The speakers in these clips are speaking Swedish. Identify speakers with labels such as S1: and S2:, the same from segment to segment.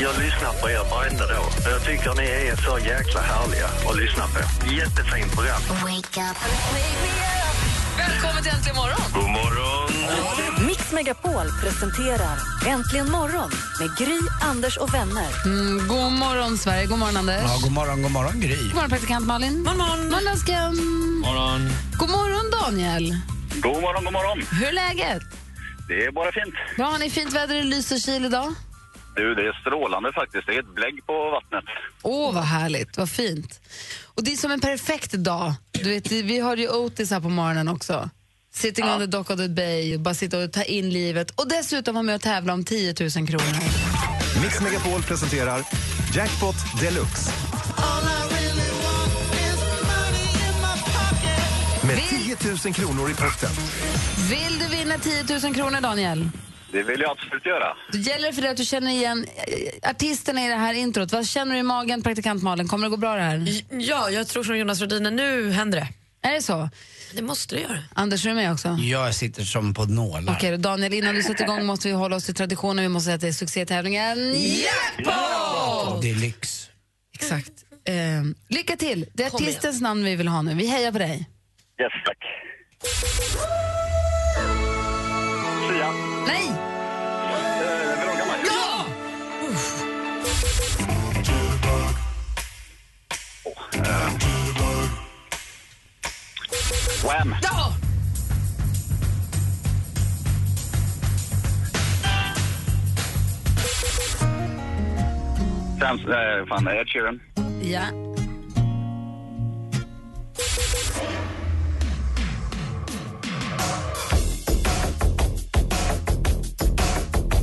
S1: Jag lyssnar på er varenda dag. Jag tycker ni är så jäkla härliga att lyssna på. Jättefint program.
S2: Välkommen till Äntligen morgon!
S1: God morgon!
S3: Mix Megapol presenterar Äntligen morgon med Gry, Anders och vänner.
S2: Mm, god morgon, Sverige. God morgon, Anders.
S4: Ja, god morgon, god morgon Gry.
S2: God morgon, praktikant Malin. God morgon. dansken.
S5: morgon.
S2: God morgon, Daniel.
S5: God morgon, god morgon.
S2: Hur är läget?
S5: Det är bara fint.
S2: Bra, har ni fint väder i Lysekil idag?
S5: Du, det är strålande faktiskt. Det är ett blägg på vattnet.
S2: Åh, vad härligt. Vad fint. Och Det är som en perfekt dag. Du vet, vi har ju Otis här på morgonen också. Sitting on the dock of the bay, bara sitta och ta in livet och dessutom vara med och tävla om 10 000 kronor.
S6: Mix Megapol presenterar Jackpot Deluxe. Med 10 000 kronor i potten.
S2: Vill du vinna 10 000 kronor, Daniel?
S5: Det vill jag absolut göra.
S2: Då gäller det för dig att du känner igen eh, artisterna i det här introt. Vad känner du i magen, praktikant Malin? Kommer det gå bra det här?
S7: Ja, jag tror som Jonas Rhodiner, nu händer det.
S2: Är det så?
S7: Det måste det göra.
S2: Anders, är du med också?
S4: Jag sitter som på nålar.
S2: Okej då, Daniel, innan du sätter igång måste vi hålla oss till traditionen. Vi måste säga att det är succétävlingen Jackpot!
S4: Det är lyx.
S2: Exakt. Ehm, lycka till! Det är
S7: Kom igen.
S2: artistens namn vi vill ha nu. Vi hejar på dig.
S5: Yes, tack. Sia.
S2: Nej!
S5: Eh, Veronica Maggio.
S2: Ja!
S5: Wham!
S2: Ja!
S5: Sam, eh, fan, Ed Sheeran.
S2: ja.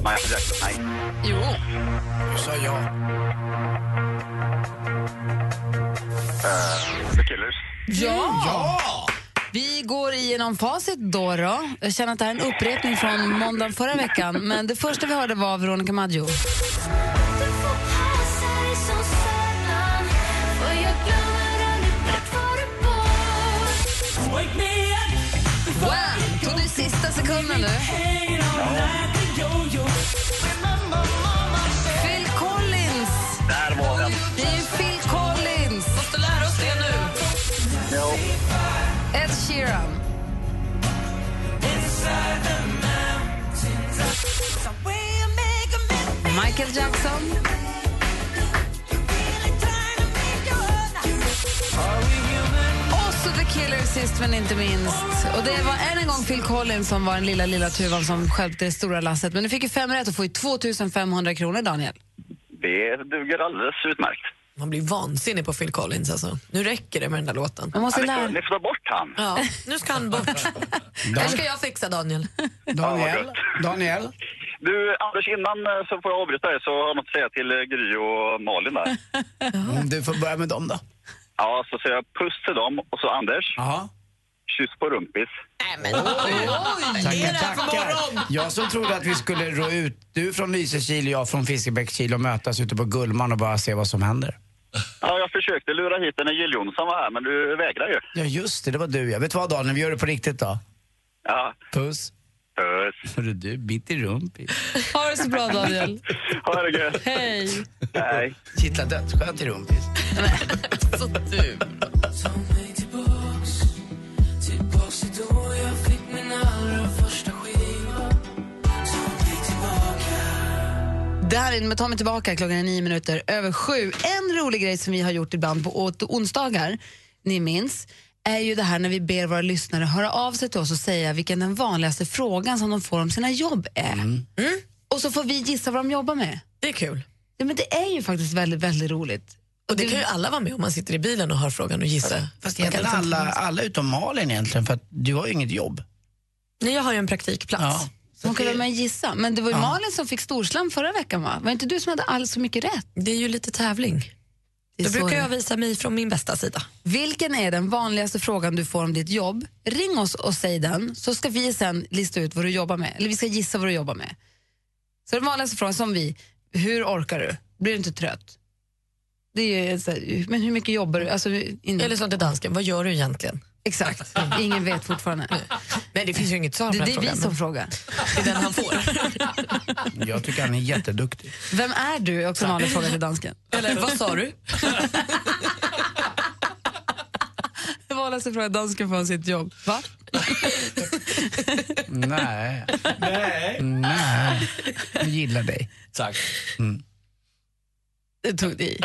S5: Michael Jackson. Nej.
S2: Jo.
S4: Du sa ja.
S5: The Killers.
S2: Ja! Vi går igenom facit då, då. Jag känner att det här är en upprepning från måndagen förra veckan. Men det första vi hörde var Veronica Maggio. Wow! Tog du sista sekunden nu? Phil Collins!
S5: Där var den.
S2: Det är ju Phil Collins! Måste lära oss det nu.
S5: Jo.
S2: Ed Sheeran. Michael Jackson. Och så The Killers sist men inte minst. Och det var än en gång Phil Collins som var den lilla, lilla tuvan som stjälpte det stora lasset. Men du fick ju fem rätt och får ju 2500 kronor, Daniel.
S5: Det duger alldeles utmärkt.
S7: Man blir vansinnig på Phil Collins alltså. Nu räcker det med den där låten.
S2: Man måste
S5: Ni får,
S2: lära...
S5: ni får ta bort han.
S7: Ja, nu ska han bort. Det här ska jag fixa Daniel.
S5: Ja,
S4: Daniel,
S5: vad
S4: Daniel.
S5: Du, Anders, innan eh, så får jag avbryta dig så har jag något att säga till eh, Gry och Malin där.
S4: Om du får börja med dem då.
S5: Ja, så säger jag puss till dem och så Anders,
S4: Ja.
S5: kyss på rumpis.
S4: Tackar, tackar. Jag som trodde att vi skulle rå ut, du från Lysekil och jag från Fiskebäckskil och mötas ute på Gullmarn och bara se vad som händer.
S5: Ja, jag försökte lura hit dig när Jill Johnson var här, men du vägrar ju.
S4: Ja just det, det var du ja. Vet du vad Daniel, vi gör det på riktigt då.
S5: Ja,
S4: Puss.
S5: puss.
S4: Hörru du, bit i rumpis.
S2: Ha det så bra, Daniel.
S5: Ha det gött.
S2: Hej.
S5: Hej.
S4: Kittlar dödsskönt i rumpis.
S7: Alltså,
S2: Det här är med Ta mig tillbaka, klockan är nio minuter över sju. En rolig grej som vi har gjort ibland på åt- onsdagar, ni minns, är ju det här när vi ber våra lyssnare höra av sig till oss och säga vilken den vanligaste frågan som de får om sina jobb är. Mm. Och så får vi gissa vad de jobbar med.
S7: Det är kul.
S2: Ja, men det är ju faktiskt väldigt, väldigt roligt.
S7: Och det kan ju alla vara med om man sitter i bilen och hör frågan och gissar.
S4: Fast egentligen alla, alla utom Malin egentligen, för att du har ju inget jobb.
S7: Nej, jag har ju en praktikplats.
S4: Ja.
S2: Man kan vara med och gissa. Men det var ju Malin som fick storslam förra veckan va? Var inte du som hade alls så mycket rätt?
S7: Det är ju lite tävling.
S2: Det är
S7: Då
S2: så
S7: brukar
S2: det är.
S7: jag visa mig från min bästa sida.
S2: Vilken är den vanligaste frågan du får om ditt jobb? Ring oss och säg den, så ska vi sen lista ut vad du jobbar med. Eller vi ska gissa vad du jobbar med. Så den vanligaste frågan som vi, hur orkar du? Blir du inte trött? Det är ju så här, men hur mycket jobbar du? Alltså, Eller
S7: som till dansken, vad gör du egentligen?
S2: Exakt, ingen vet fortfarande.
S7: Nej, det finns ju inget svar
S2: Det,
S7: på
S2: det
S7: den
S2: är vi
S7: frågan.
S2: som frågar.
S4: Jag tycker han är jätteduktig.
S2: Vem är du? Är också en vanlig fråga till dansken.
S7: Eller vad sa du?
S2: Det vanligaste frågan dansken får om sitt jobb. Va?
S4: Nej. Nej. Nej. Jag gillar dig. Tack. Mm.
S2: Det tog det i.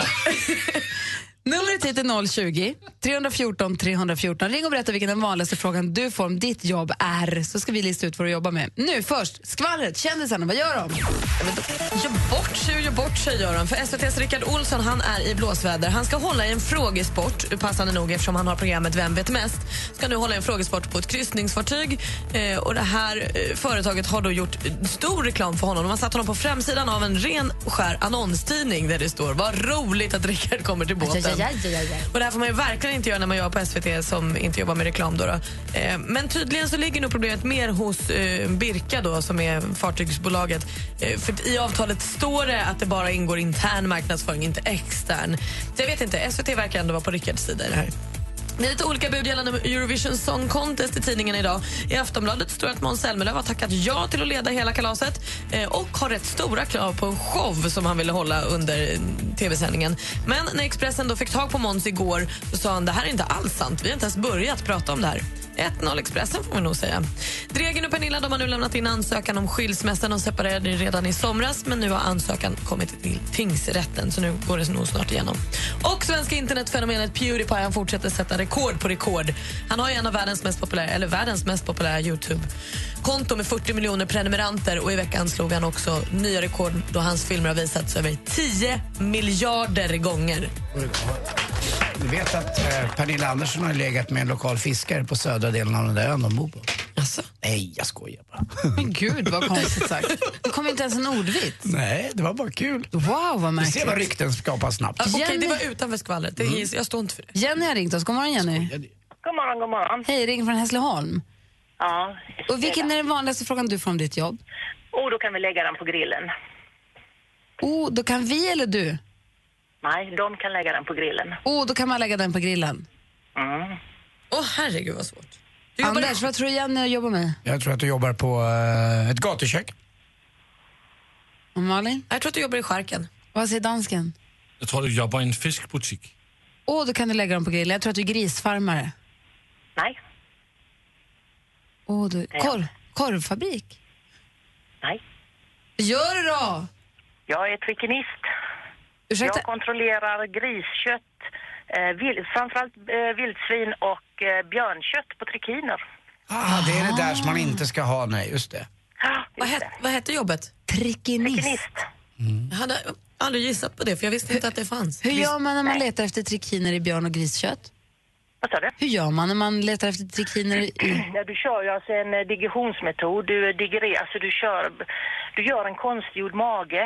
S2: Numret hit är 020 314 314. Ring och berätta vilken den vanligaste frågan du får om ditt jobb är, så ska vi lista ut vad du jobbar med. Nu först, skvallret, kändisarna, vad gör de?
S7: Gör bort sig och gör bort sig, gör han. För SVTs Rickard Olsson han är i blåsväder. Han ska hålla i en frågesport, passande nog eftersom han har programmet Vem vet mest. Ska nu hålla i en frågesport på ett kryssningsfartyg. Eh, och det här eh, företaget har då gjort eh, stor reklam för honom. De har satt honom på framsidan av en ren och skär annonstidning där det står Vad roligt att Rickard kommer till båten. Och det här får man ju verkligen inte göra när man jobbar på SVT som inte jobbar med reklam. Då då. Eh, men tydligen så ligger nog problemet mer hos eh, Birka då, som är fartygsbolaget. Eh, för i avtalet står det att det bara ingår intern marknadsföring, inte extern. Så jag vet inte, SVT verkar ändå vara på Rickards sida i det här. Det är lite olika bud gällande Eurovision Song Contest i tidningen idag. I Aftonbladet står att Måns Zelmerlöw har tackat ja till att leda hela kalaset eh, och har rätt stora krav på en show som han ville hålla under eh, tv-sändningen. Men när Expressen då fick tag på Måns igår så sa han det här är inte alls sant. Vi har inte ens börjat prata om det här. 1-0 Expressen får vi nog säga. Dregen och Pernilla de har nu lämnat in ansökan om skilsmässan. De separerade redan i somras, men nu har ansökan kommit till tingsrätten. Så nu går det nog snart igenom. Och svenska internetfenomenet Pewdiepie han fortsätter sätta rekord på rekord. Han har ju en av världens mest populära, eller världens mest populära Youtube-konto med 40 miljoner prenumeranter. Och I veckan slog han också nya rekord då hans filmer har visats över 10 miljarder gånger.
S4: Du vet att eh, Pernilla Andersson har legat med en lokal fiskare på södra delen av den där ön de bor på.
S7: Alltså?
S4: Nej, jag skojar bara.
S2: Men gud vad konstigt sagt. Det kom inte ens en ordvits.
S4: Nej, det var bara kul.
S2: Wow, vad
S4: Du ser
S2: märkligt.
S4: vad rykten skapas snabbt.
S7: Okej, det var utanför skvallret. Det är, Jag står inte för det.
S2: Jenny har ringt oss. God morgon, Jenny.
S8: God morgon, god morgon.
S2: Hej, ring från Hässleholm.
S8: Ja.
S2: Och vilken är den vanligaste frågan du får om ditt jobb?
S8: Och då kan vi lägga den på grillen.
S2: Oh, då kan vi eller du?
S8: Nej, de kan lägga den på grillen.
S2: Oh, då kan man lägga den på grillen.
S8: Mm.
S7: Åh, herregud vad svårt.
S2: Anders, vad tror du Jenny jobbar med?
S4: Jag tror att du jobbar på eh, ett gatukök.
S2: Och Malin?
S7: Jag tror att du jobbar i skärken.
S2: Vad säger dansken?
S9: Jag tror, du jobbar i en fiskbutik.
S2: Åh, då kan du lägga dem på grillen. Jag tror att du är grisfarmare.
S8: Nej.
S2: Åh, du... Korv, korvfabrik?
S8: Nej.
S2: Gör det då!
S8: Jag är trikinist.
S2: Ursäkta?
S8: Jag kontrollerar griskött, eh, vil, framförallt eh, vildsvin och eh, björnkött på trikiner.
S4: Ah, det är det där som man inte ska ha, nej, just det.
S7: Vad, het, vad hette jobbet?
S2: Trikinist.
S7: Jag hade aldrig gissat på det, för jag visste inte att det fanns.
S2: Hur gör man när man letar efter trikiner i björn och griskött?
S8: Vad sa du?
S2: Hur gör man när man letar efter trikiner i...
S8: Ja, du kör ju alltså en eh, digestionsmetod. Du digererar, alltså du kör, du gör en konstgjord mage.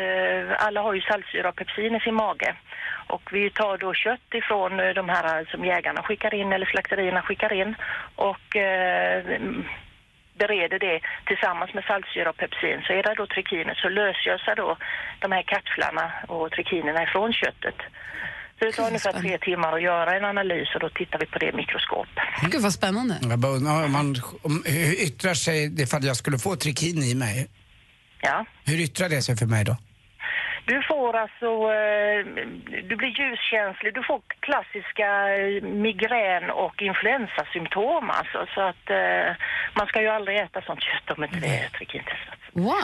S8: Eh, Alla har ju saltsyra och pepsin i sin mage. Och vi tar då kött ifrån eh, de här eh, som jägarna skickar in eller slakterierna skickar in och eh, mm, bereder det tillsammans med saltsyra och pepsin. Så är det då trikiner så lösgör sig då de här kapslarna och trikinerna ifrån köttet. Så det tar ungefär tre timmar att göra en analys och då tittar vi på det i mikroskop.
S2: Gud, vad spännande.
S4: Jag bara undrar om man om, hur yttrar sig det ifall jag skulle få trikin i mig?
S8: Ja.
S4: Hur yttrar det sig för mig då?
S8: Du får alltså, eh, du blir ljuskänslig, du får klassiska eh, migrän och influensasymptom alltså. Så att eh, man ska ju aldrig äta sånt kött om inte det är trikintestat.
S2: Wow,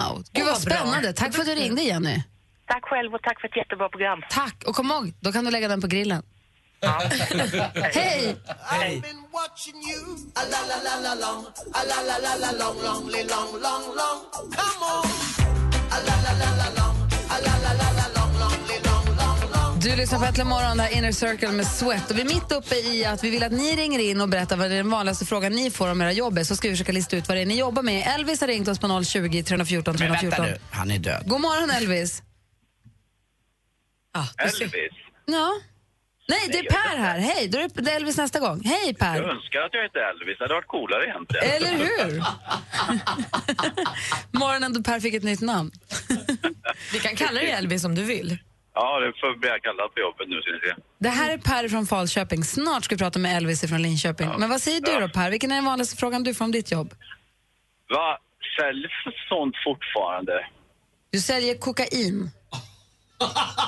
S8: Åh,
S2: gud vad
S8: vad bra.
S2: spännande. Tack för att du ringde, Jenny.
S8: Tack själv och tack för ett jättebra program.
S2: Tack, och kom ihåg, då kan du lägga den på grillen. Hej!
S10: I've been watching you. A la la la la long, a la la la la long, long, li- long, long, long. Come on. A la la la la long, a la la la la long, long, li- long, long, long.
S2: Du lyssnar på Äntligen morgon, det här Inner Circle med Sweat. Och vi är mitt uppe i att vi vill att ni ringer in och berättar vad den vanligaste frågan ni får om era jobb är, så ska vi försöka lista ut vad det är ni jobbar med. Elvis har ringt oss på 020 314
S4: Men vänta
S2: 314.
S4: nu, han är död.
S2: God morgon Elvis.
S7: Ah,
S2: Elvis. Ja. Nej, det är Per här. Hej, då är det Elvis nästa gång. Hej
S5: Jag
S2: Per.
S5: önskar att jag hette Elvis, det hade varit coolare egentligen.
S2: Eller hur? Morgonen då Per fick ett nytt namn.
S7: Vi kan kalla dig Elvis om du vill.
S5: Ja, det får bli jag kallad på jobbet nu ska ni se.
S2: Det här är Per från Falköping. Snart ska vi prata med Elvis från Linköping. Men vad säger du då Per? Vilken är den vanligaste frågan du får om ditt jobb?
S5: Va? Säljs sånt fortfarande?
S2: Du säljer kokain.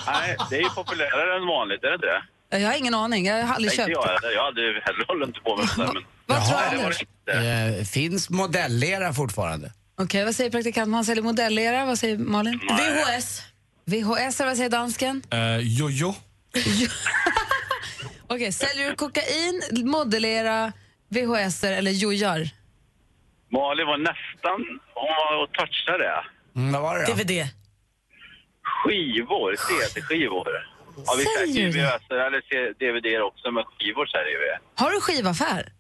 S5: Nej, det är ju populärare än vanligt, är det inte det?
S2: Jag har ingen aning, jag har aldrig
S5: Nej,
S2: köpt.
S5: inte jag heller. Jag hade ju heller håller inte på med sånt där, men...
S2: Vad tror
S5: det var
S2: Anders?
S5: det.
S4: Eh, finns modellera fortfarande?
S2: Okej, vad säger praktikanten? Han säljer modellera. Vad säger Malin?
S7: VHS.
S2: VHS, vad säger dansken?
S9: Eh, Jojo.
S2: Okej, säljer du kokain, modellera, VHS eller jojar?
S5: Malin var nästan... Hon var och touchade det.
S4: Mm, vad var det då?
S7: DVD.
S5: Skivor, CD-skivor. Ja, vi
S2: Säger
S5: säljer
S2: du
S5: ju VHS-er eller DVD också, men skivor säljer vi.
S2: Har du skivaffär?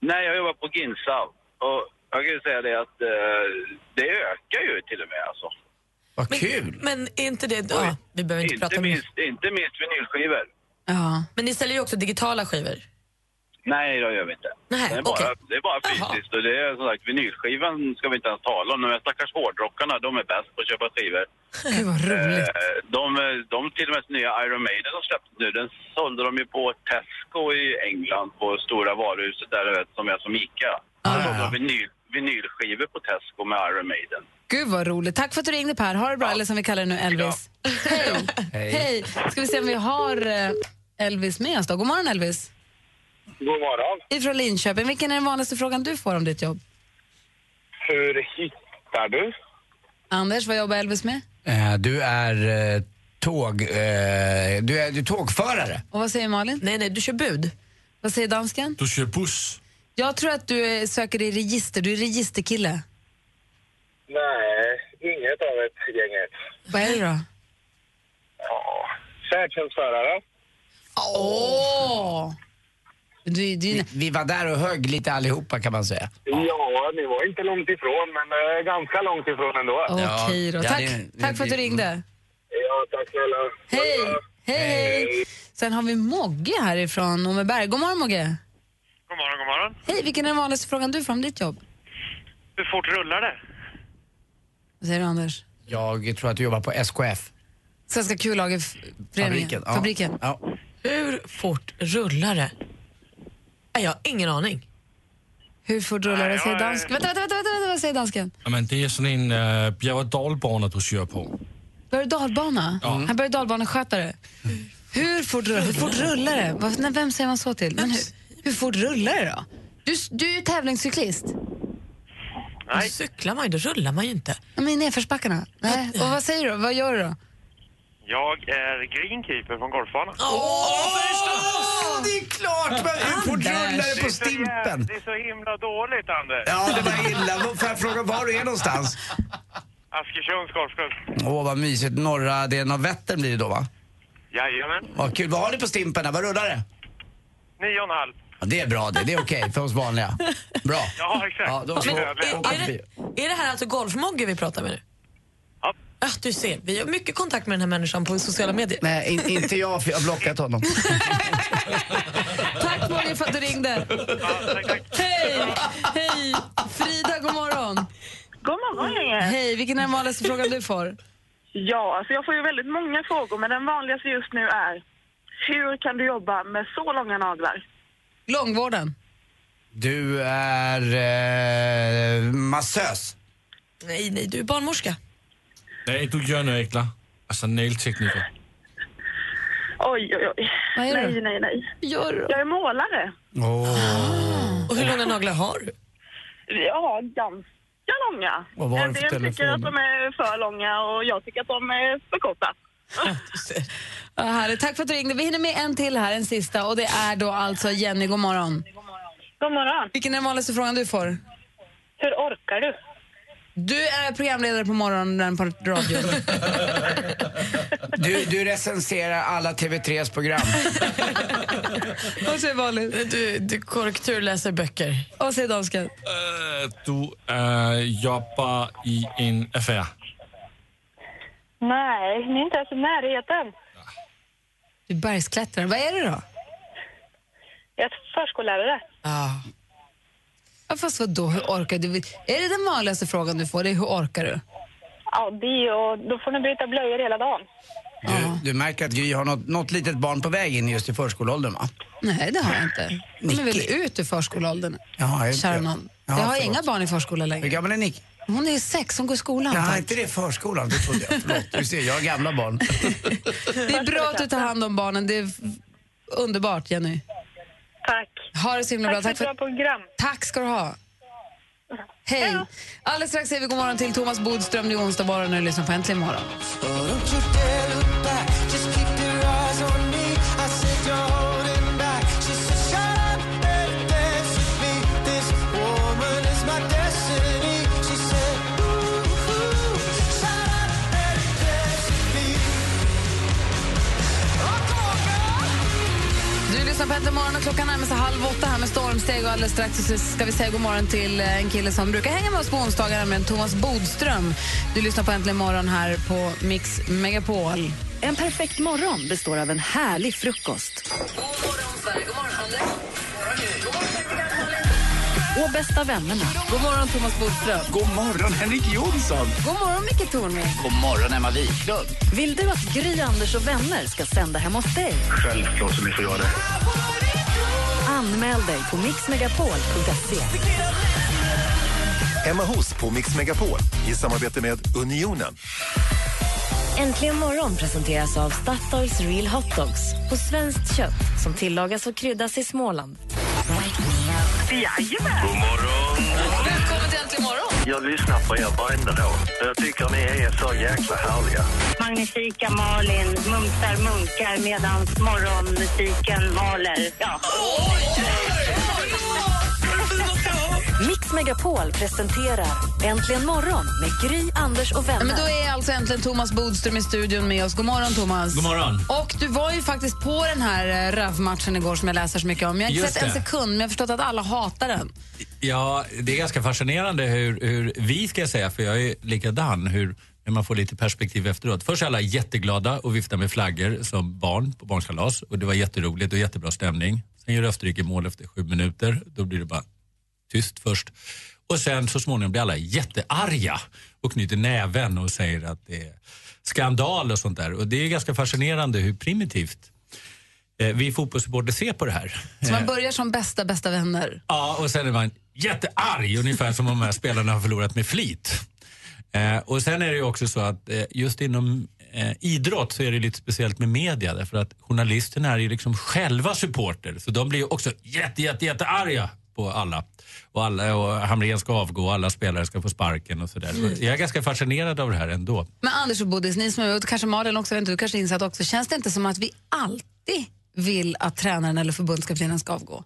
S5: Nej, jag jobbar på Ginsa. Och jag kan ju säga det att eh, det ökar ju till och med alltså.
S4: Vad kul!
S7: Men är inte det... Ja, vi behöver inte, prata
S5: Inte
S7: mer.
S5: minst, inte minst vinylskivor.
S2: Ja.
S7: Men ni säljer ju också digitala skivor.
S5: Nej, det gör vi inte.
S7: Nej,
S5: det, är bara,
S7: okej.
S5: det är bara fysiskt. Och det är som sagt, vinylskivan ska vi inte ens tala om. De här stackars hårdrockarna, de är bäst på att köpa skivor.
S2: Gud vad roligt.
S5: Eh, De, de till och med nya Iron Maiden som släpptes nu, den sålde de ju på Tesco i England, på stora varuhuset där, du vet, som är som Ica. Ah, de sålde vinyl, vinylskivor på Tesco med Iron Maiden.
S2: Gud vad roligt. Tack för att du ringde Per. Ha det bra, eller som vi kallar det nu, Elvis. Hej.
S5: Hej.
S2: Hej. Ska vi se om vi har eh, Elvis med oss då. God morgon Elvis.
S11: God morgon.
S2: Ifrån Linköping. Vilken är den vanligaste frågan du får om ditt jobb?
S11: Hur hittar du?
S2: Anders, vad jobbar Elvis med?
S4: Eh, du är eh, tåg... Eh, du, är, du är tågförare.
S2: Och vad säger Malin?
S7: Nej, nej, du kör bud.
S2: Vad säger dansken?
S9: Du kör buss.
S2: Jag tror att du eh, söker i register. Du är registerkille.
S11: Nej, inget av ett gänget.
S2: Vad är det då?
S11: Ja, färdtjänstförare.
S2: Åh!
S4: Vi, vi var där och högg lite allihopa kan man säga.
S11: Ja, ni var inte långt ifrån, men eh, ganska långt ifrån ändå.
S2: Okej då. Tack, tack för att du
S4: Mm.
S2: ringde.
S11: Ja, tack snälla.
S2: Hej! Hej, hej! Sen har vi Mogge härifrån Åmmeberg. God morgon Mogge!
S12: God morgon, god morgon.
S2: Hej, vilken är den vanligaste frågan du får om ditt jobb?
S12: Hur fort rullar det?
S2: Vad säger du Anders?
S4: Jag tror att du jobbar på SKF.
S2: Svenska kullagerföreningen?
S4: Fabriken, ja.
S2: Fabriken.
S4: Ja.
S7: Hur fort rullar det? Nej, Jag har ingen aning.
S2: Hur fort rullar det?
S9: Nej,
S2: Säger
S9: jag är-
S2: dansken. Vänta, vänta, vänta, vänta, vad säger dansken?
S9: Men det är sådan en uh, bjerg- och dalbana du kör på.
S2: Berg och dalbana?
S9: Ja.
S2: Han berg och dalbaneskötare. Hur fort rullar, hur fort rullar det? Vad- nej, Vem säger man så till? Men hur, hur fort rullar det då? Du, s- du är ju tävlingscyklist.
S7: Nej. Cyklar man ju, då rullar man ju inte.
S2: Ja, Men i nedförsbackarna? Nej. Och vad säger du? Vad gör du då?
S12: Jag är greenkeeper från golfbanan.
S4: Åh, det är klart! Men hur fort rullar det på stimpen?
S12: Det är så himla dåligt, Anders.
S4: Ja, det var illa. Får jag fråga var du är någonstans?
S12: Askersunds golfklubb.
S4: Åh, vad mysigt. Norra delen av Vättern blir det då, va?
S12: Jajamän.
S4: Vad kul. Vad har ni på stimpen? där? Vad rullar det?
S12: Nio och en halv.
S4: Ja, det är bra det. Det är okej för oss vanliga. Bra.
S12: Ja, eh, exakt.
S4: Ja, då så.
S7: Men, är,
S4: Och-
S7: är, det, är det här alltså golfmogge vi pratar med nu?
S12: Ja.
S7: du ser, vi har mycket kontakt med den här människan på sociala medier.
S4: Nej, in, inte jag, för jag har blockat honom.
S2: Tack Mogge för att du ringde. Hej! Hej! Frida, god morgon.
S13: God morgon, gänget.
S2: Hej, vilken är den vanligaste frågan du får?
S13: Ja, alltså jag får ju väldigt många frågor, men den vanligaste just nu är hur kan du jobba med så långa naglar?
S2: Långvården.
S4: Du är eh, massös.
S7: Nej, nej, du är barnmorska.
S9: Nej, du gör naglar. Alltså nailtekniker.
S13: Oj, oj, oj.
S2: Vad
S13: nej, nej, nej.
S2: Gör du?
S13: Jag är målare.
S7: Och hur långa naglar har du?
S13: Ja, ganska långa.
S7: Vad var det
S13: en
S7: för
S13: del tycker
S7: telefon?
S13: att de är för långa och jag tycker att de är för korta.
S2: Ja, härligt. Tack för att du ringde. Vi hinner med en till här, en sista. Och det är då alltså Jenny, god morgon.
S13: God morgon.
S2: Vilken är den vanligaste frågan du får?
S13: Hur orkar du?
S2: Du är programledare på morgonen på radion.
S4: Du, du recenserar alla TV3s program.
S2: Vad säger Malin?
S7: Du, du korrekturläser böcker.
S2: Vad säger dansken?
S9: Eh, du eh, jobbar i en affär.
S13: Nej, ni är inte ens i närheten.
S2: Du är bergsklättrare. Vad är du då?
S14: Jag är förskollärare.
S2: Ah. Ja, fast vadå, hur orkar du? Är det den vanligaste frågan du får? Det är hur orkar du?
S14: Ja, det och då får ni byta blöjor hela dagen.
S4: Du, du märker att Gry har något, något litet barn på väg in just i förskoleåldern va?
S2: Nej, det har jag inte. De är väl ut ur förskoleåldern?
S4: Jaha, jag-
S2: Kära nån.
S4: Ja,
S2: jag har
S4: förlåt.
S2: inga barn i förskola längre.
S4: Hur gammal är Nick?
S2: Hon är sex, hon går i skolan.
S4: Ja,
S2: tack.
S4: inte det är förskolan, det trodde jag. Förlåt, du ser, jag har gamla barn.
S2: Det är bra att du tar hand om barnen. Det är f- underbart, Jenny. Tack. Ha det så himla bra.
S14: Tack för ett bra program.
S2: Tack ska du ha. Hej. Alldeles strax säger vi god morgon till Thomas Bodström. Det är onsdag morgon och du lyssnar på Äntligen morgon. Du lyssnar på Äntligen morgon och klockan närmar sig halv åtta här med stormsteg och alldeles strax så ska vi säga god morgon till eh, en kille som brukar hänga med oss på onsdagar, nämligen Thomas Bodström. Du lyssnar på Äntligen morgon här på Mix Megapol.
S3: En perfekt morgon består av en härlig frukost. Och bästa vännerna.
S2: God morgon, Thomas Bodström.
S15: God morgon, Henrik Jonsson!
S2: God morgon, Micke Tornving.
S15: God morgon, Emma Wiklund!
S3: Vill du att Gry, Anders och vänner ska sända hemma hos dig?
S15: Självklart som ni får göra det.
S3: Anmäl dig på mixmegapol.se.
S16: Emma hos på Mix Megapol i samarbete med Unionen.
S3: Äntligen morgon presenteras av Statoils Real Hot Dogs på svenskt kött som tillagas och kryddas i Småland.
S10: Jajamän! God morgon!
S2: Välkommen till Äntligen morgon!
S10: Jag lyssnar på er varenda dag. Jag tycker ni är så jäkla härliga.
S14: Magnifika Malin mumsar munkar medan morgonmusiken maler. Ja.
S3: Mix Megapol presenterar Äntligen morgon med Gry, Anders och vänner.
S2: Ja, men då är alltså äntligen Thomas Bodström i studion med oss. God morgon, Thomas.
S6: God morgon.
S2: Och du var ju faktiskt på den här eh, RAV-matchen igår som jag läser så mycket om. Jag har inte
S6: Just
S2: sett en
S6: det.
S2: sekund, men jag har förstått att alla hatar den.
S6: Ja, det är ganska fascinerande hur, hur vi, ska jag säga, för jag är likadan, hur, hur man får lite perspektiv efteråt. Först är alla jätteglada och viftar med flaggor som barn på barnskalas och det var jätteroligt och jättebra stämning. Sen gör Österrike mål efter sju minuter, då blir det bara tyst först. Och sen så småningom blir alla jättearga och knyter näven och säger att det är skandal och sånt där. Och det är ganska fascinerande hur primitivt eh, vi fotbollssupportrar ser på det här.
S2: Så man
S6: Eh,
S2: börjar som bästa, bästa vänner.
S6: Ja, och sen är man jättearg, ungefär som om de här spelarna har förlorat med flit. Eh, och sen är det ju också så att eh, just inom eh, idrott så är det lite speciellt med media därför att journalisterna är ju liksom själva supporter så de blir ju också jätte, jätte, jättearga på alla. Och, alla, och Hamrén ska avgå och alla spelare ska få sparken och sådär.
S2: Mm.
S6: Och Jag är ganska fascinerad av det här ändå.
S2: Men Anders och Bodis, ni som är och kanske Malin också, jag vet inte, du kanske är insatt också. Känns det inte som att vi alltid vill att tränaren eller förbundskaptenen ska avgå?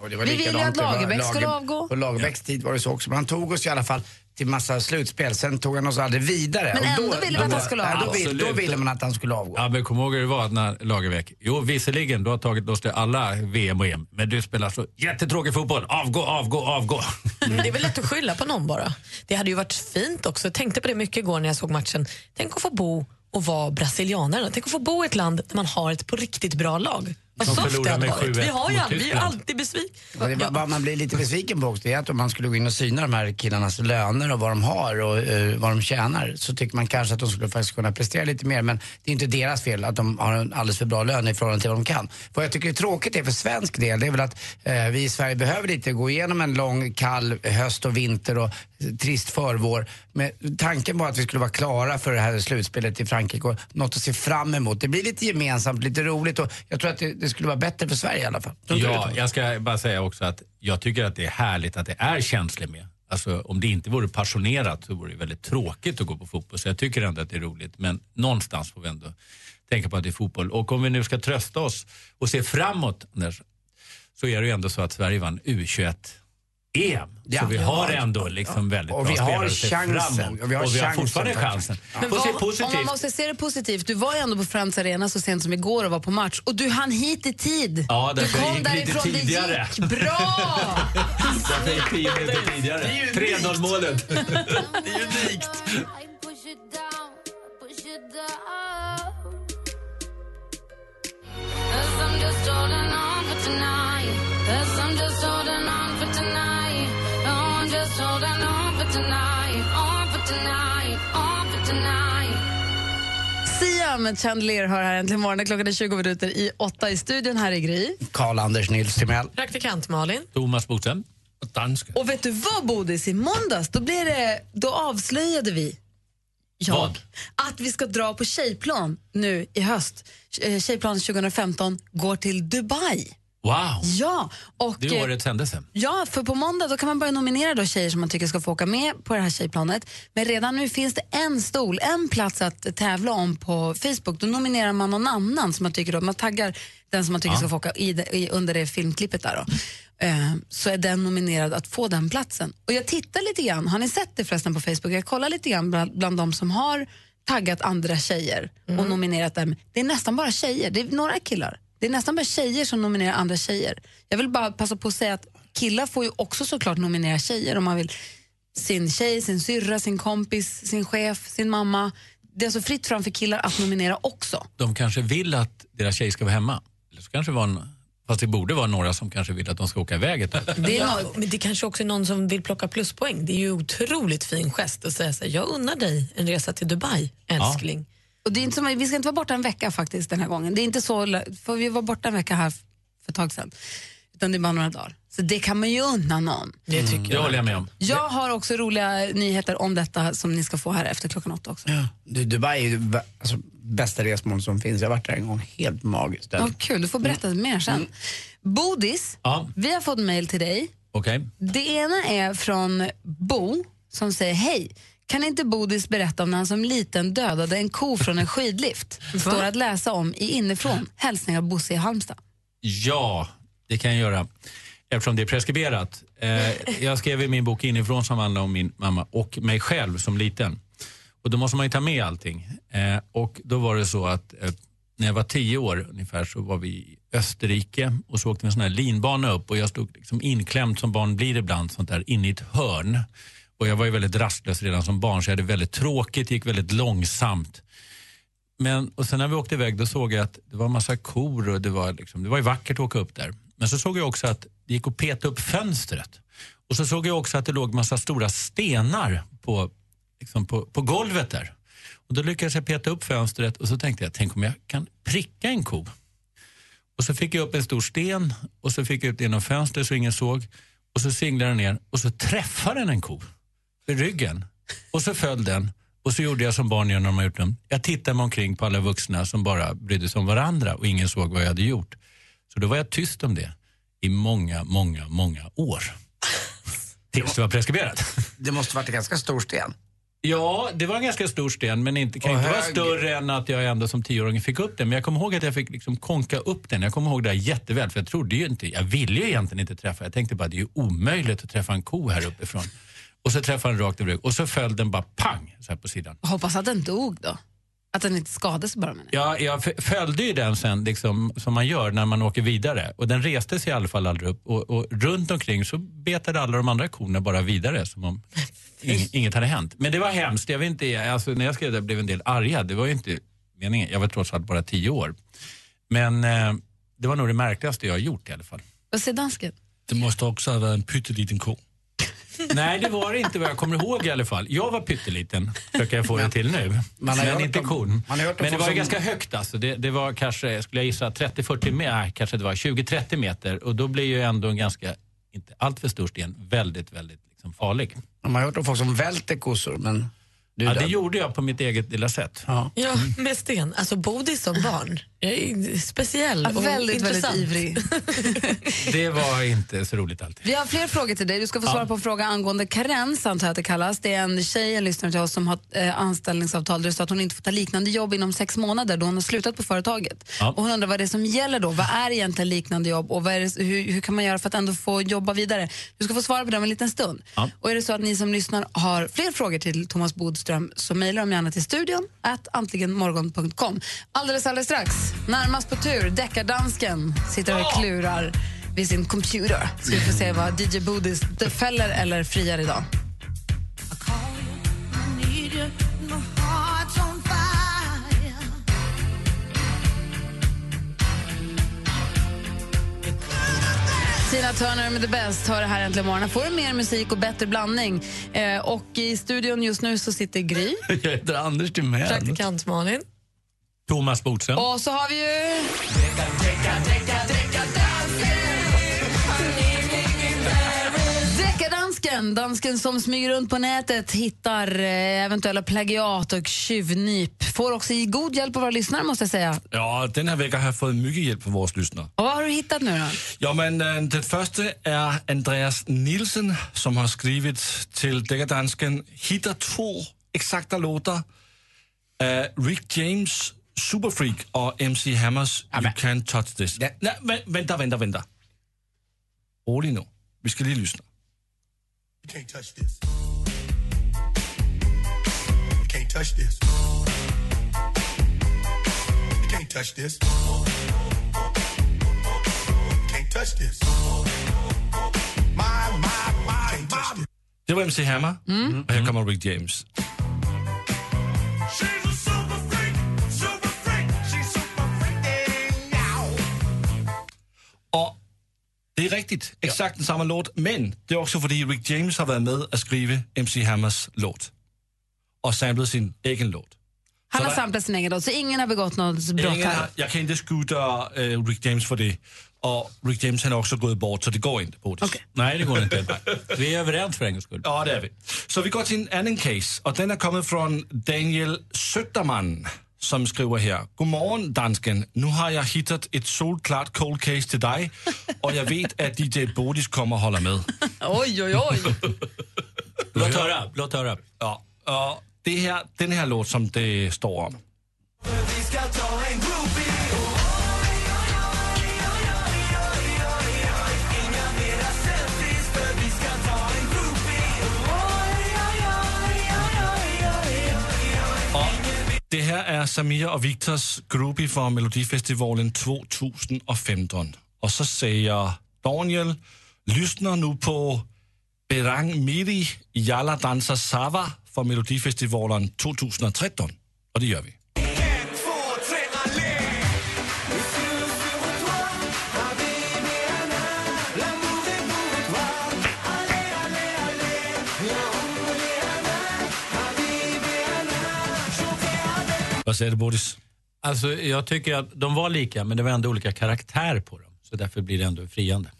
S4: Och det var
S2: Vi vill ju
S4: likadant.
S2: att
S4: Det var
S2: Lagerbäck skulle
S4: Lager-
S2: avgå.
S4: På Lagerbäcks tid var det så också. Men han tog oss i alla fall till massa slutspel. Sen tog han oss aldrig vidare.
S2: Men
S4: Och
S2: ändå ville vi att han skulle
S4: Ja, Då,
S6: avgå.
S4: vill, då
S6: Absolut.
S4: ville man att han skulle avgå.
S6: Ja, men kom ihåg hur det var när Lagerbäck... Jo, visserligen, du har tagit oss till alla VM och EM, men du spelar så jättetråkig fotboll. Avgå, avgå, avgå.
S17: Men Mm. det är väl lätt att skylla på någon bara. Det hade ju varit fint också. Jag tänkte på det mycket igår när jag såg matchen. Tänk att få bo och vara brasilianare. Tänk att få bo i ett land där man har ett på riktigt bra lag. Vad
S4: Som
S17: soft det
S4: förlorar
S17: hade
S4: med
S17: varit. Vi
S4: 7-1
S17: har ju
S4: mot
S17: aldrig, vi är ju
S4: Tyskland.
S17: alltid besvikna.
S4: Och det,
S17: Ja.
S4: vad man blir lite besviken på också, det är att om man skulle gå in och syna de här killarnas löner och vad de har och eh, vad de tjänar så tycker man kanske att de skulle faktiskt kunna prestera lite mer. Men det är inte deras fel att de har en alldeles för bra lön i förhållande till vad de kan. Vad jag tycker är tråkigt är för svensk del, det är väl att eh, vi i Sverige behöver lite gå igenom en lång kall höst och vinter och eh, trist förvår. Men tanken var att vi skulle vara klara för det här slutspelet i Frankrike och något att se fram emot. Det blir lite gemensamt, lite roligt och jag tror att det, det skulle vara bättre för Sverige i alla fall. Tror inte du det,
S6: Ja,
S4: Thomas?
S6: jag ska bara säga också att jag tycker att det är härligt att det är känslor med. Alltså, om det inte vore passionerat så vore det väldigt tråkigt att gå på fotboll. Så jag tycker ändå att det är roligt. Men någonstans får vi ändå tänka på att det är fotboll. Och om vi nu ska trösta oss och se framåt, Anders, så är det ju ändå så att Sverige vann U21-EM.
S4: Ja.
S6: så vi har ändå liksom väldigt
S4: Och
S6: bra
S4: vi har
S6: spelare att se fram emot.
S4: chansen. Och
S6: Och
S4: vi
S6: vi
S4: har
S6: har,
S4: chansen
S6: fortfarande
S4: faktiskt.
S6: chansen. Får
S4: Ja.
S6: se
S2: vad- Om man
S6: positivt.
S2: måste se det positivt, du var ju ändå på Friends Arena så sent som igår och var på match och du hann hit i tid.
S6: Ja,
S2: du
S6: därför jag
S2: kom
S6: gick lite
S2: därifrån, det
S6: tidigare.
S2: gick bra!
S6: Därför gick tio minuter tidigare. 3-0 målet.
S10: just holding on for tonight, on for tonight, on for tonight.
S2: Sia med Chandelier hör här äntligen morgonen. Klockan är 20 minuter i åtta i studion här i Gry.
S4: Karl-Anders Nils Timell.
S2: Praktikant Malin.
S6: Thomas Bodström. Dansk.
S2: Och vet du vad Bodis, i måndags då, blev det, då avslöjade vi jag,
S6: Vad?
S2: att vi ska dra på tjejplan nu i höst. Eh, Tjejplan 2015 går till Dubai.
S6: Wow!
S2: Ja, och,
S6: Det är årets händelse.
S2: Ja, för på måndag då kan man börja nominera då tjejer som man tycker ska få åka med på det här tjejplanet. Men redan nu finns det en stol, en plats att tävla om på Facebook. Då nominerar man någon annan som man tycker då, man taggar den som man tycker
S10: Ja.
S2: ska få åka i, det- i, under det filmklippet där då. Eh, så är den nominerad att få den platsen. Och jag tittar lite grann, har ni sett det förresten på Facebook? Jag kollar lite grann bland, bland de som har taggat andra tjejer och nominerat dem. Det är nästan bara tjejer, det är några killar. Det är nästan bara tjejer som nominerar andra tjejer. Jag vill bara passa på att säga att killar får ju också såklart nominera tjejer om man vill. Sin tjej, sin syrra, sin kompis, sin chef, sin mamma. Det är alltså fritt fram för killar att nominera också.
S6: De kanske vill att deras tjej ska vara hemma. Eller så kanske det var en, fast det borde vara några som kanske vill att de ska åka iväg ett tag.
S17: Det, är ja, men det kanske också är någon som vill plocka pluspoäng. Det är ju otroligt fin gest att säga så här, jag unnar dig en resa till Dubai, älskling.
S2: Och det är inte som, vi ska inte vara borta en vecka faktiskt den här gången. Det är inte så, lö- för vi var borta en vecka här f- för ett tag sedan. Utan det är bara några dagar. Så det kan man ju unna någon.
S17: Det tycker
S6: Det håller jag med om.
S2: Jag har också roliga nyheter om detta som ni ska få här efter klockan åtta också.
S4: Du, Dubai är ju va- alltså, bästa resmål som finns. Jag har varit där en gång. Helt magiskt. ställe.
S2: Vad kul, du får berätta mer sen. Bodis,
S4: Ja.
S2: vi har fått mejl till dig.
S6: Okej?
S2: Det ena är från Bo som säger hej. Kan inte Bodis berätta om när han som liten dödade en ko från en skidlift? Står att läsa om i inifrån. Hälsningar Bosse i Halmstad.
S6: Ja, det kan jag göra. Eftersom det är preskriberat. Eh, jag skrev i min bok inifrån som handlar om min mamma och mig själv som liten. Och då måste man ju ta med allting. Eh, och då var det så att eh, när jag var tio år ungefär så var vi i Österrike och så åkte vi en sån här linbana upp och jag stod liksom inklämd som barn blir ibland sånt där inne i ett hörn. Och jag var ju väldigt rastlös redan som barn så jag hade väldigt tråkigt, gick väldigt långsamt. Men, och sen när vi åkte iväg då såg jag att det var en massa kor och det var, liksom, det var ju vackert att åka upp där. Men så såg jag också att det gick att peta upp fönstret. Och så såg jag också att det låg massa stora stenar på, liksom på, på golvet där. Och då lyckades jag peta upp fönstret och så tänkte jag, tänk om jag kan pricka en ko. Och så fick jag upp en stor sten och så fick jag ut den genom fönstret så ingen såg. Och så singlade den ner och så träffade den en ko i ryggen. Och så föll den. Och så gjorde jag som barn gör när de har gjort dem. Jag tittade mig omkring på alla vuxna som bara brydde sig om varandra och ingen såg vad jag hade gjort. Så då var jag tyst om det i många, många, många år. Tills det var preskriberat.
S4: Det måste varit en ganska stor sten.
S6: Ja, det var en ganska stor sten, men inte, kan
S4: Och
S6: inte vara
S4: hög.
S6: större än att jag ändå som tioåring fick upp den. Men jag kommer ihåg att jag fick liksom konka upp den. Jag kommer ihåg det här jätteväl, för jag trodde ju inte, jag ville ju egentligen inte träffa. Jag tänkte bara, det är ju omöjligt att träffa en ko här uppifrån. Och så träffade den rakt över ryggen. och så föll den bara pang, så här på sidan.
S2: Hoppas att den dog då. Att den inte skadades bara. Men.
S6: Ja, jag f- följde ju den sen liksom, som man gör när man åker vidare. Och den reste sig i alla fall aldrig upp. Och, och runt omkring så betade alla de andra korna bara vidare som om ing, inget hade hänt. Men det var hemskt. Jag vet inte, alltså, när jag skrev det blev en del arga. Det var ju inte meningen. Jag var trots allt bara tio år. Men eh, det var nog det märkligaste jag har gjort i alla fall.
S2: Vad säger dansken?
S18: Det måste också ha varit en pytteliten ko.
S6: Nej, det var det inte vad jag kommer ihåg i alla fall. Jag var pytteliten, försöker jag få det till nu.
S4: man har
S6: men
S4: hört
S6: inte
S4: om-
S6: kon.
S4: man har hört om
S6: Men det
S4: folk
S6: var ju
S4: som-
S6: ganska högt alltså. Det, det var kanske, skulle jag gissa, 30-40 meter, nej, kanske det var 20-30 meter. Och då blir ju ändå en ganska, inte allt för stor sten, väldigt, väldigt liksom farlig.
S4: Man har hört om folk som välter kossor, men... Du är
S6: Ja, det
S4: död.
S6: gjorde jag på mitt eget lilla sätt.
S17: Ja,
S4: Mm.
S17: med sten. Alltså Bodis som barn. Jag är speciell
S2: Ja,
S17: och
S2: väldigt, väldigt
S17: intressant.
S2: ivrig.
S6: Det var inte så roligt alltid.
S2: Vi har fler frågor till dig. Du ska få
S6: Ja.
S2: svara på en fråga angående karens, antar jag att det kallas. Det är en tjej, en lyssnare till oss, som har eh, anställningsavtal där det står att hon inte får ta liknande jobb inom sex månader då hon har slutat på företaget.
S10: Ja.
S2: Och hon undrar vad det är som gäller då. Vad är egentligen liknande jobb och vad är det, hur, hur kan man göra för att ändå få jobba vidare? Du ska få svara på det om en liten stund.
S10: Ja.
S2: Och är det så att ni som lyssnar har fler frågor till Thomas Bodström så mejla dem gärna till studion at antligenmorgon.com. Alldeles, alldeles strax, närmast på tur, deckardansken sitter och klurar vid sin computer. Ska vi få se vad DJ Bodis d- fäller eller friar idag.
S10: Need you, my heart's on fire. You could have danced
S2: Tina Turner med The Best hör det här äntligen morgon. Här får du mer musik och bättre blandning. Eh, och i studion just nu så sitter Gry.
S4: Jag heter Anders Timell.
S7: Praktikant Malin.
S19: Thomas Bodström.
S2: Och så har vi ju... Deckardansken, dansken som smyger runt på nätet, hittar eh, eventuella plagiat och tjuvnyp. Får också i god hjälp av våra lyssnare måste jag säga.
S6: Ja, den här veckan har jag fått mycket hjälp av våra lyssnare.
S2: Och vad har du hittat nu då?
S6: Ja, men eh, den första är Andreas Nielsen som har skrivit till Deckardansken Hitta två exakta låtar. Eh, Rick James Superfreak och MC Hammers You Can't Touch This. Nej, vä- vänta, vänta, vänta. Rolig nu. Vi ska lige lyssna.
S20: You can't touch this. You can't touch this. You can't touch this. You can't touch this. My, my, my, my.
S6: Det var MC Hammer
S7: Mm.
S6: och här kommer Rick James.
S20: She's a super freak, super freak. She's super freaking out.
S6: Det är riktigt, exakt den samma låt, men det är också för att Rick James har varit med att skriva MC Hammers låt. Och samlat sin egen låt.
S2: Han
S6: Så
S2: har
S6: der-
S2: samlat sin egen låt, så ingen har begått något brott
S6: Ingen,
S2: här.
S6: har- jag kan inte skuta eh, Rick James för det. Och Rick James han har också gått bort, så det går inte. Bodis.
S19: Nej, det går inte. Vi är överens för en gångs skull.
S6: Ja, det är vi. Så vi går till en annan case, och den är kommit från Daniel Sötterman som skriver här. God morgon dansken. Nu har jag hittat ett solklart cold case till dig och jag vet att DJ Bodis kommer hålla med.
S7: Oj, oj, oj.
S6: Låt höra, låt höra. Ja, och det här, den här låt som det står om.
S20: Vi ska ta en groovy och Inga mera selfies för vi ska ta en groovy
S6: Det här är Samira och Victors groupie från Melodifestivalen 2015. Och så säger Daniel, lyssna nu på Berang Miri, Jalla dansar Sava från Melodifestivalen 2013. Och det gör vi.
S20: En, två, tre, allé If you sur toi, ma baby and I L'amour est pour toi Allez, allez, allez L'amour est à moi Ma baby and I Chanter avec
S6: Vad säger du, Bodis?
S19: Alltså, jag tycker att de var lika, men det var ändå olika karaktär på dem. Så därför blir det ändå friande.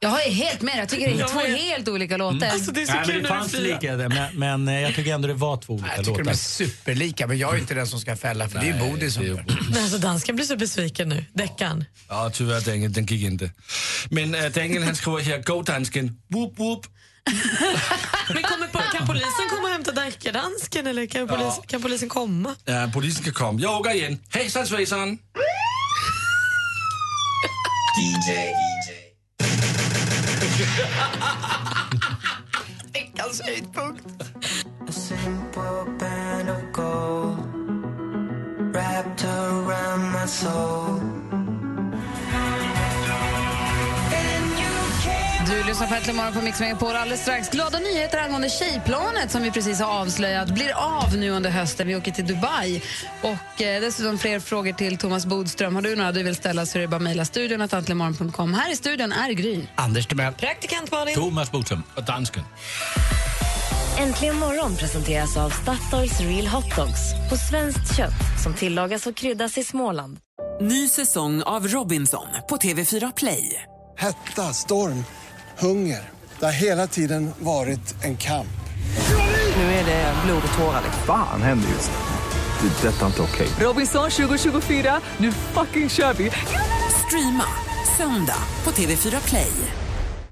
S2: Jag är helt med Jag tycker det är
S19: Jag
S2: två
S19: med.
S2: helt olika låtar.
S6: Alltså,
S19: Nej, men det fanns lika, där, men, men eh, jag tycker ändå det var två olika
S4: Jag tycker de
S19: låtar.
S4: är superlika, men jag är inte den som ska fälla för det är ju Bodil som gör det.
S7: Men alltså, dansken blir så besviken nu. Deckan.
S6: Ja, tyvärr Daniel, den gick inte. Men äh, Daniel han skriver här, Go dansken, whoop whoop.
S7: Men kommer, po- kan polisen komma och hämta deckardansken eller kan, polis, kan polisen komma?
S6: Ja, polisen kan komma. Jag åker igen. Hejsan svejsan!
S20: DJ
S4: Veckans höjdpunkt.
S20: A simple band of gold wrapped around my soul.
S2: Du lyssnar på Äntligen morgon på Mix Megapol. Alldeles strax glada nyheter angående tjejplanet som vi precis har avslöjat blir av nu under hösten. Vi åker till Dubai. Och eh, dessutom fler frågor till Thomas Bodström. Har du några du vill ställa så är det bara att mejla studion att antligenmorgon.com. Här i studion är Gry.
S4: Anders Timell.
S7: Praktikant Malin.
S6: Thomas Bodström. Och dansken.
S3: Äntligen morgon presenteras av Statoils Real Hot Dogs på svenskt kött som tillagas och kryddas i Småland.
S21: Ny säsong av Robinson på TV4 Play.
S22: Hetta, storm, hunger. Det har hela tiden varit en kamp.
S21: Nu är det blod och tårar.
S23: Fan händer just det. Det är detta inte okej.
S21: Robinson 2024, nu fucking kör vi! Streama söndag på TV4 Play.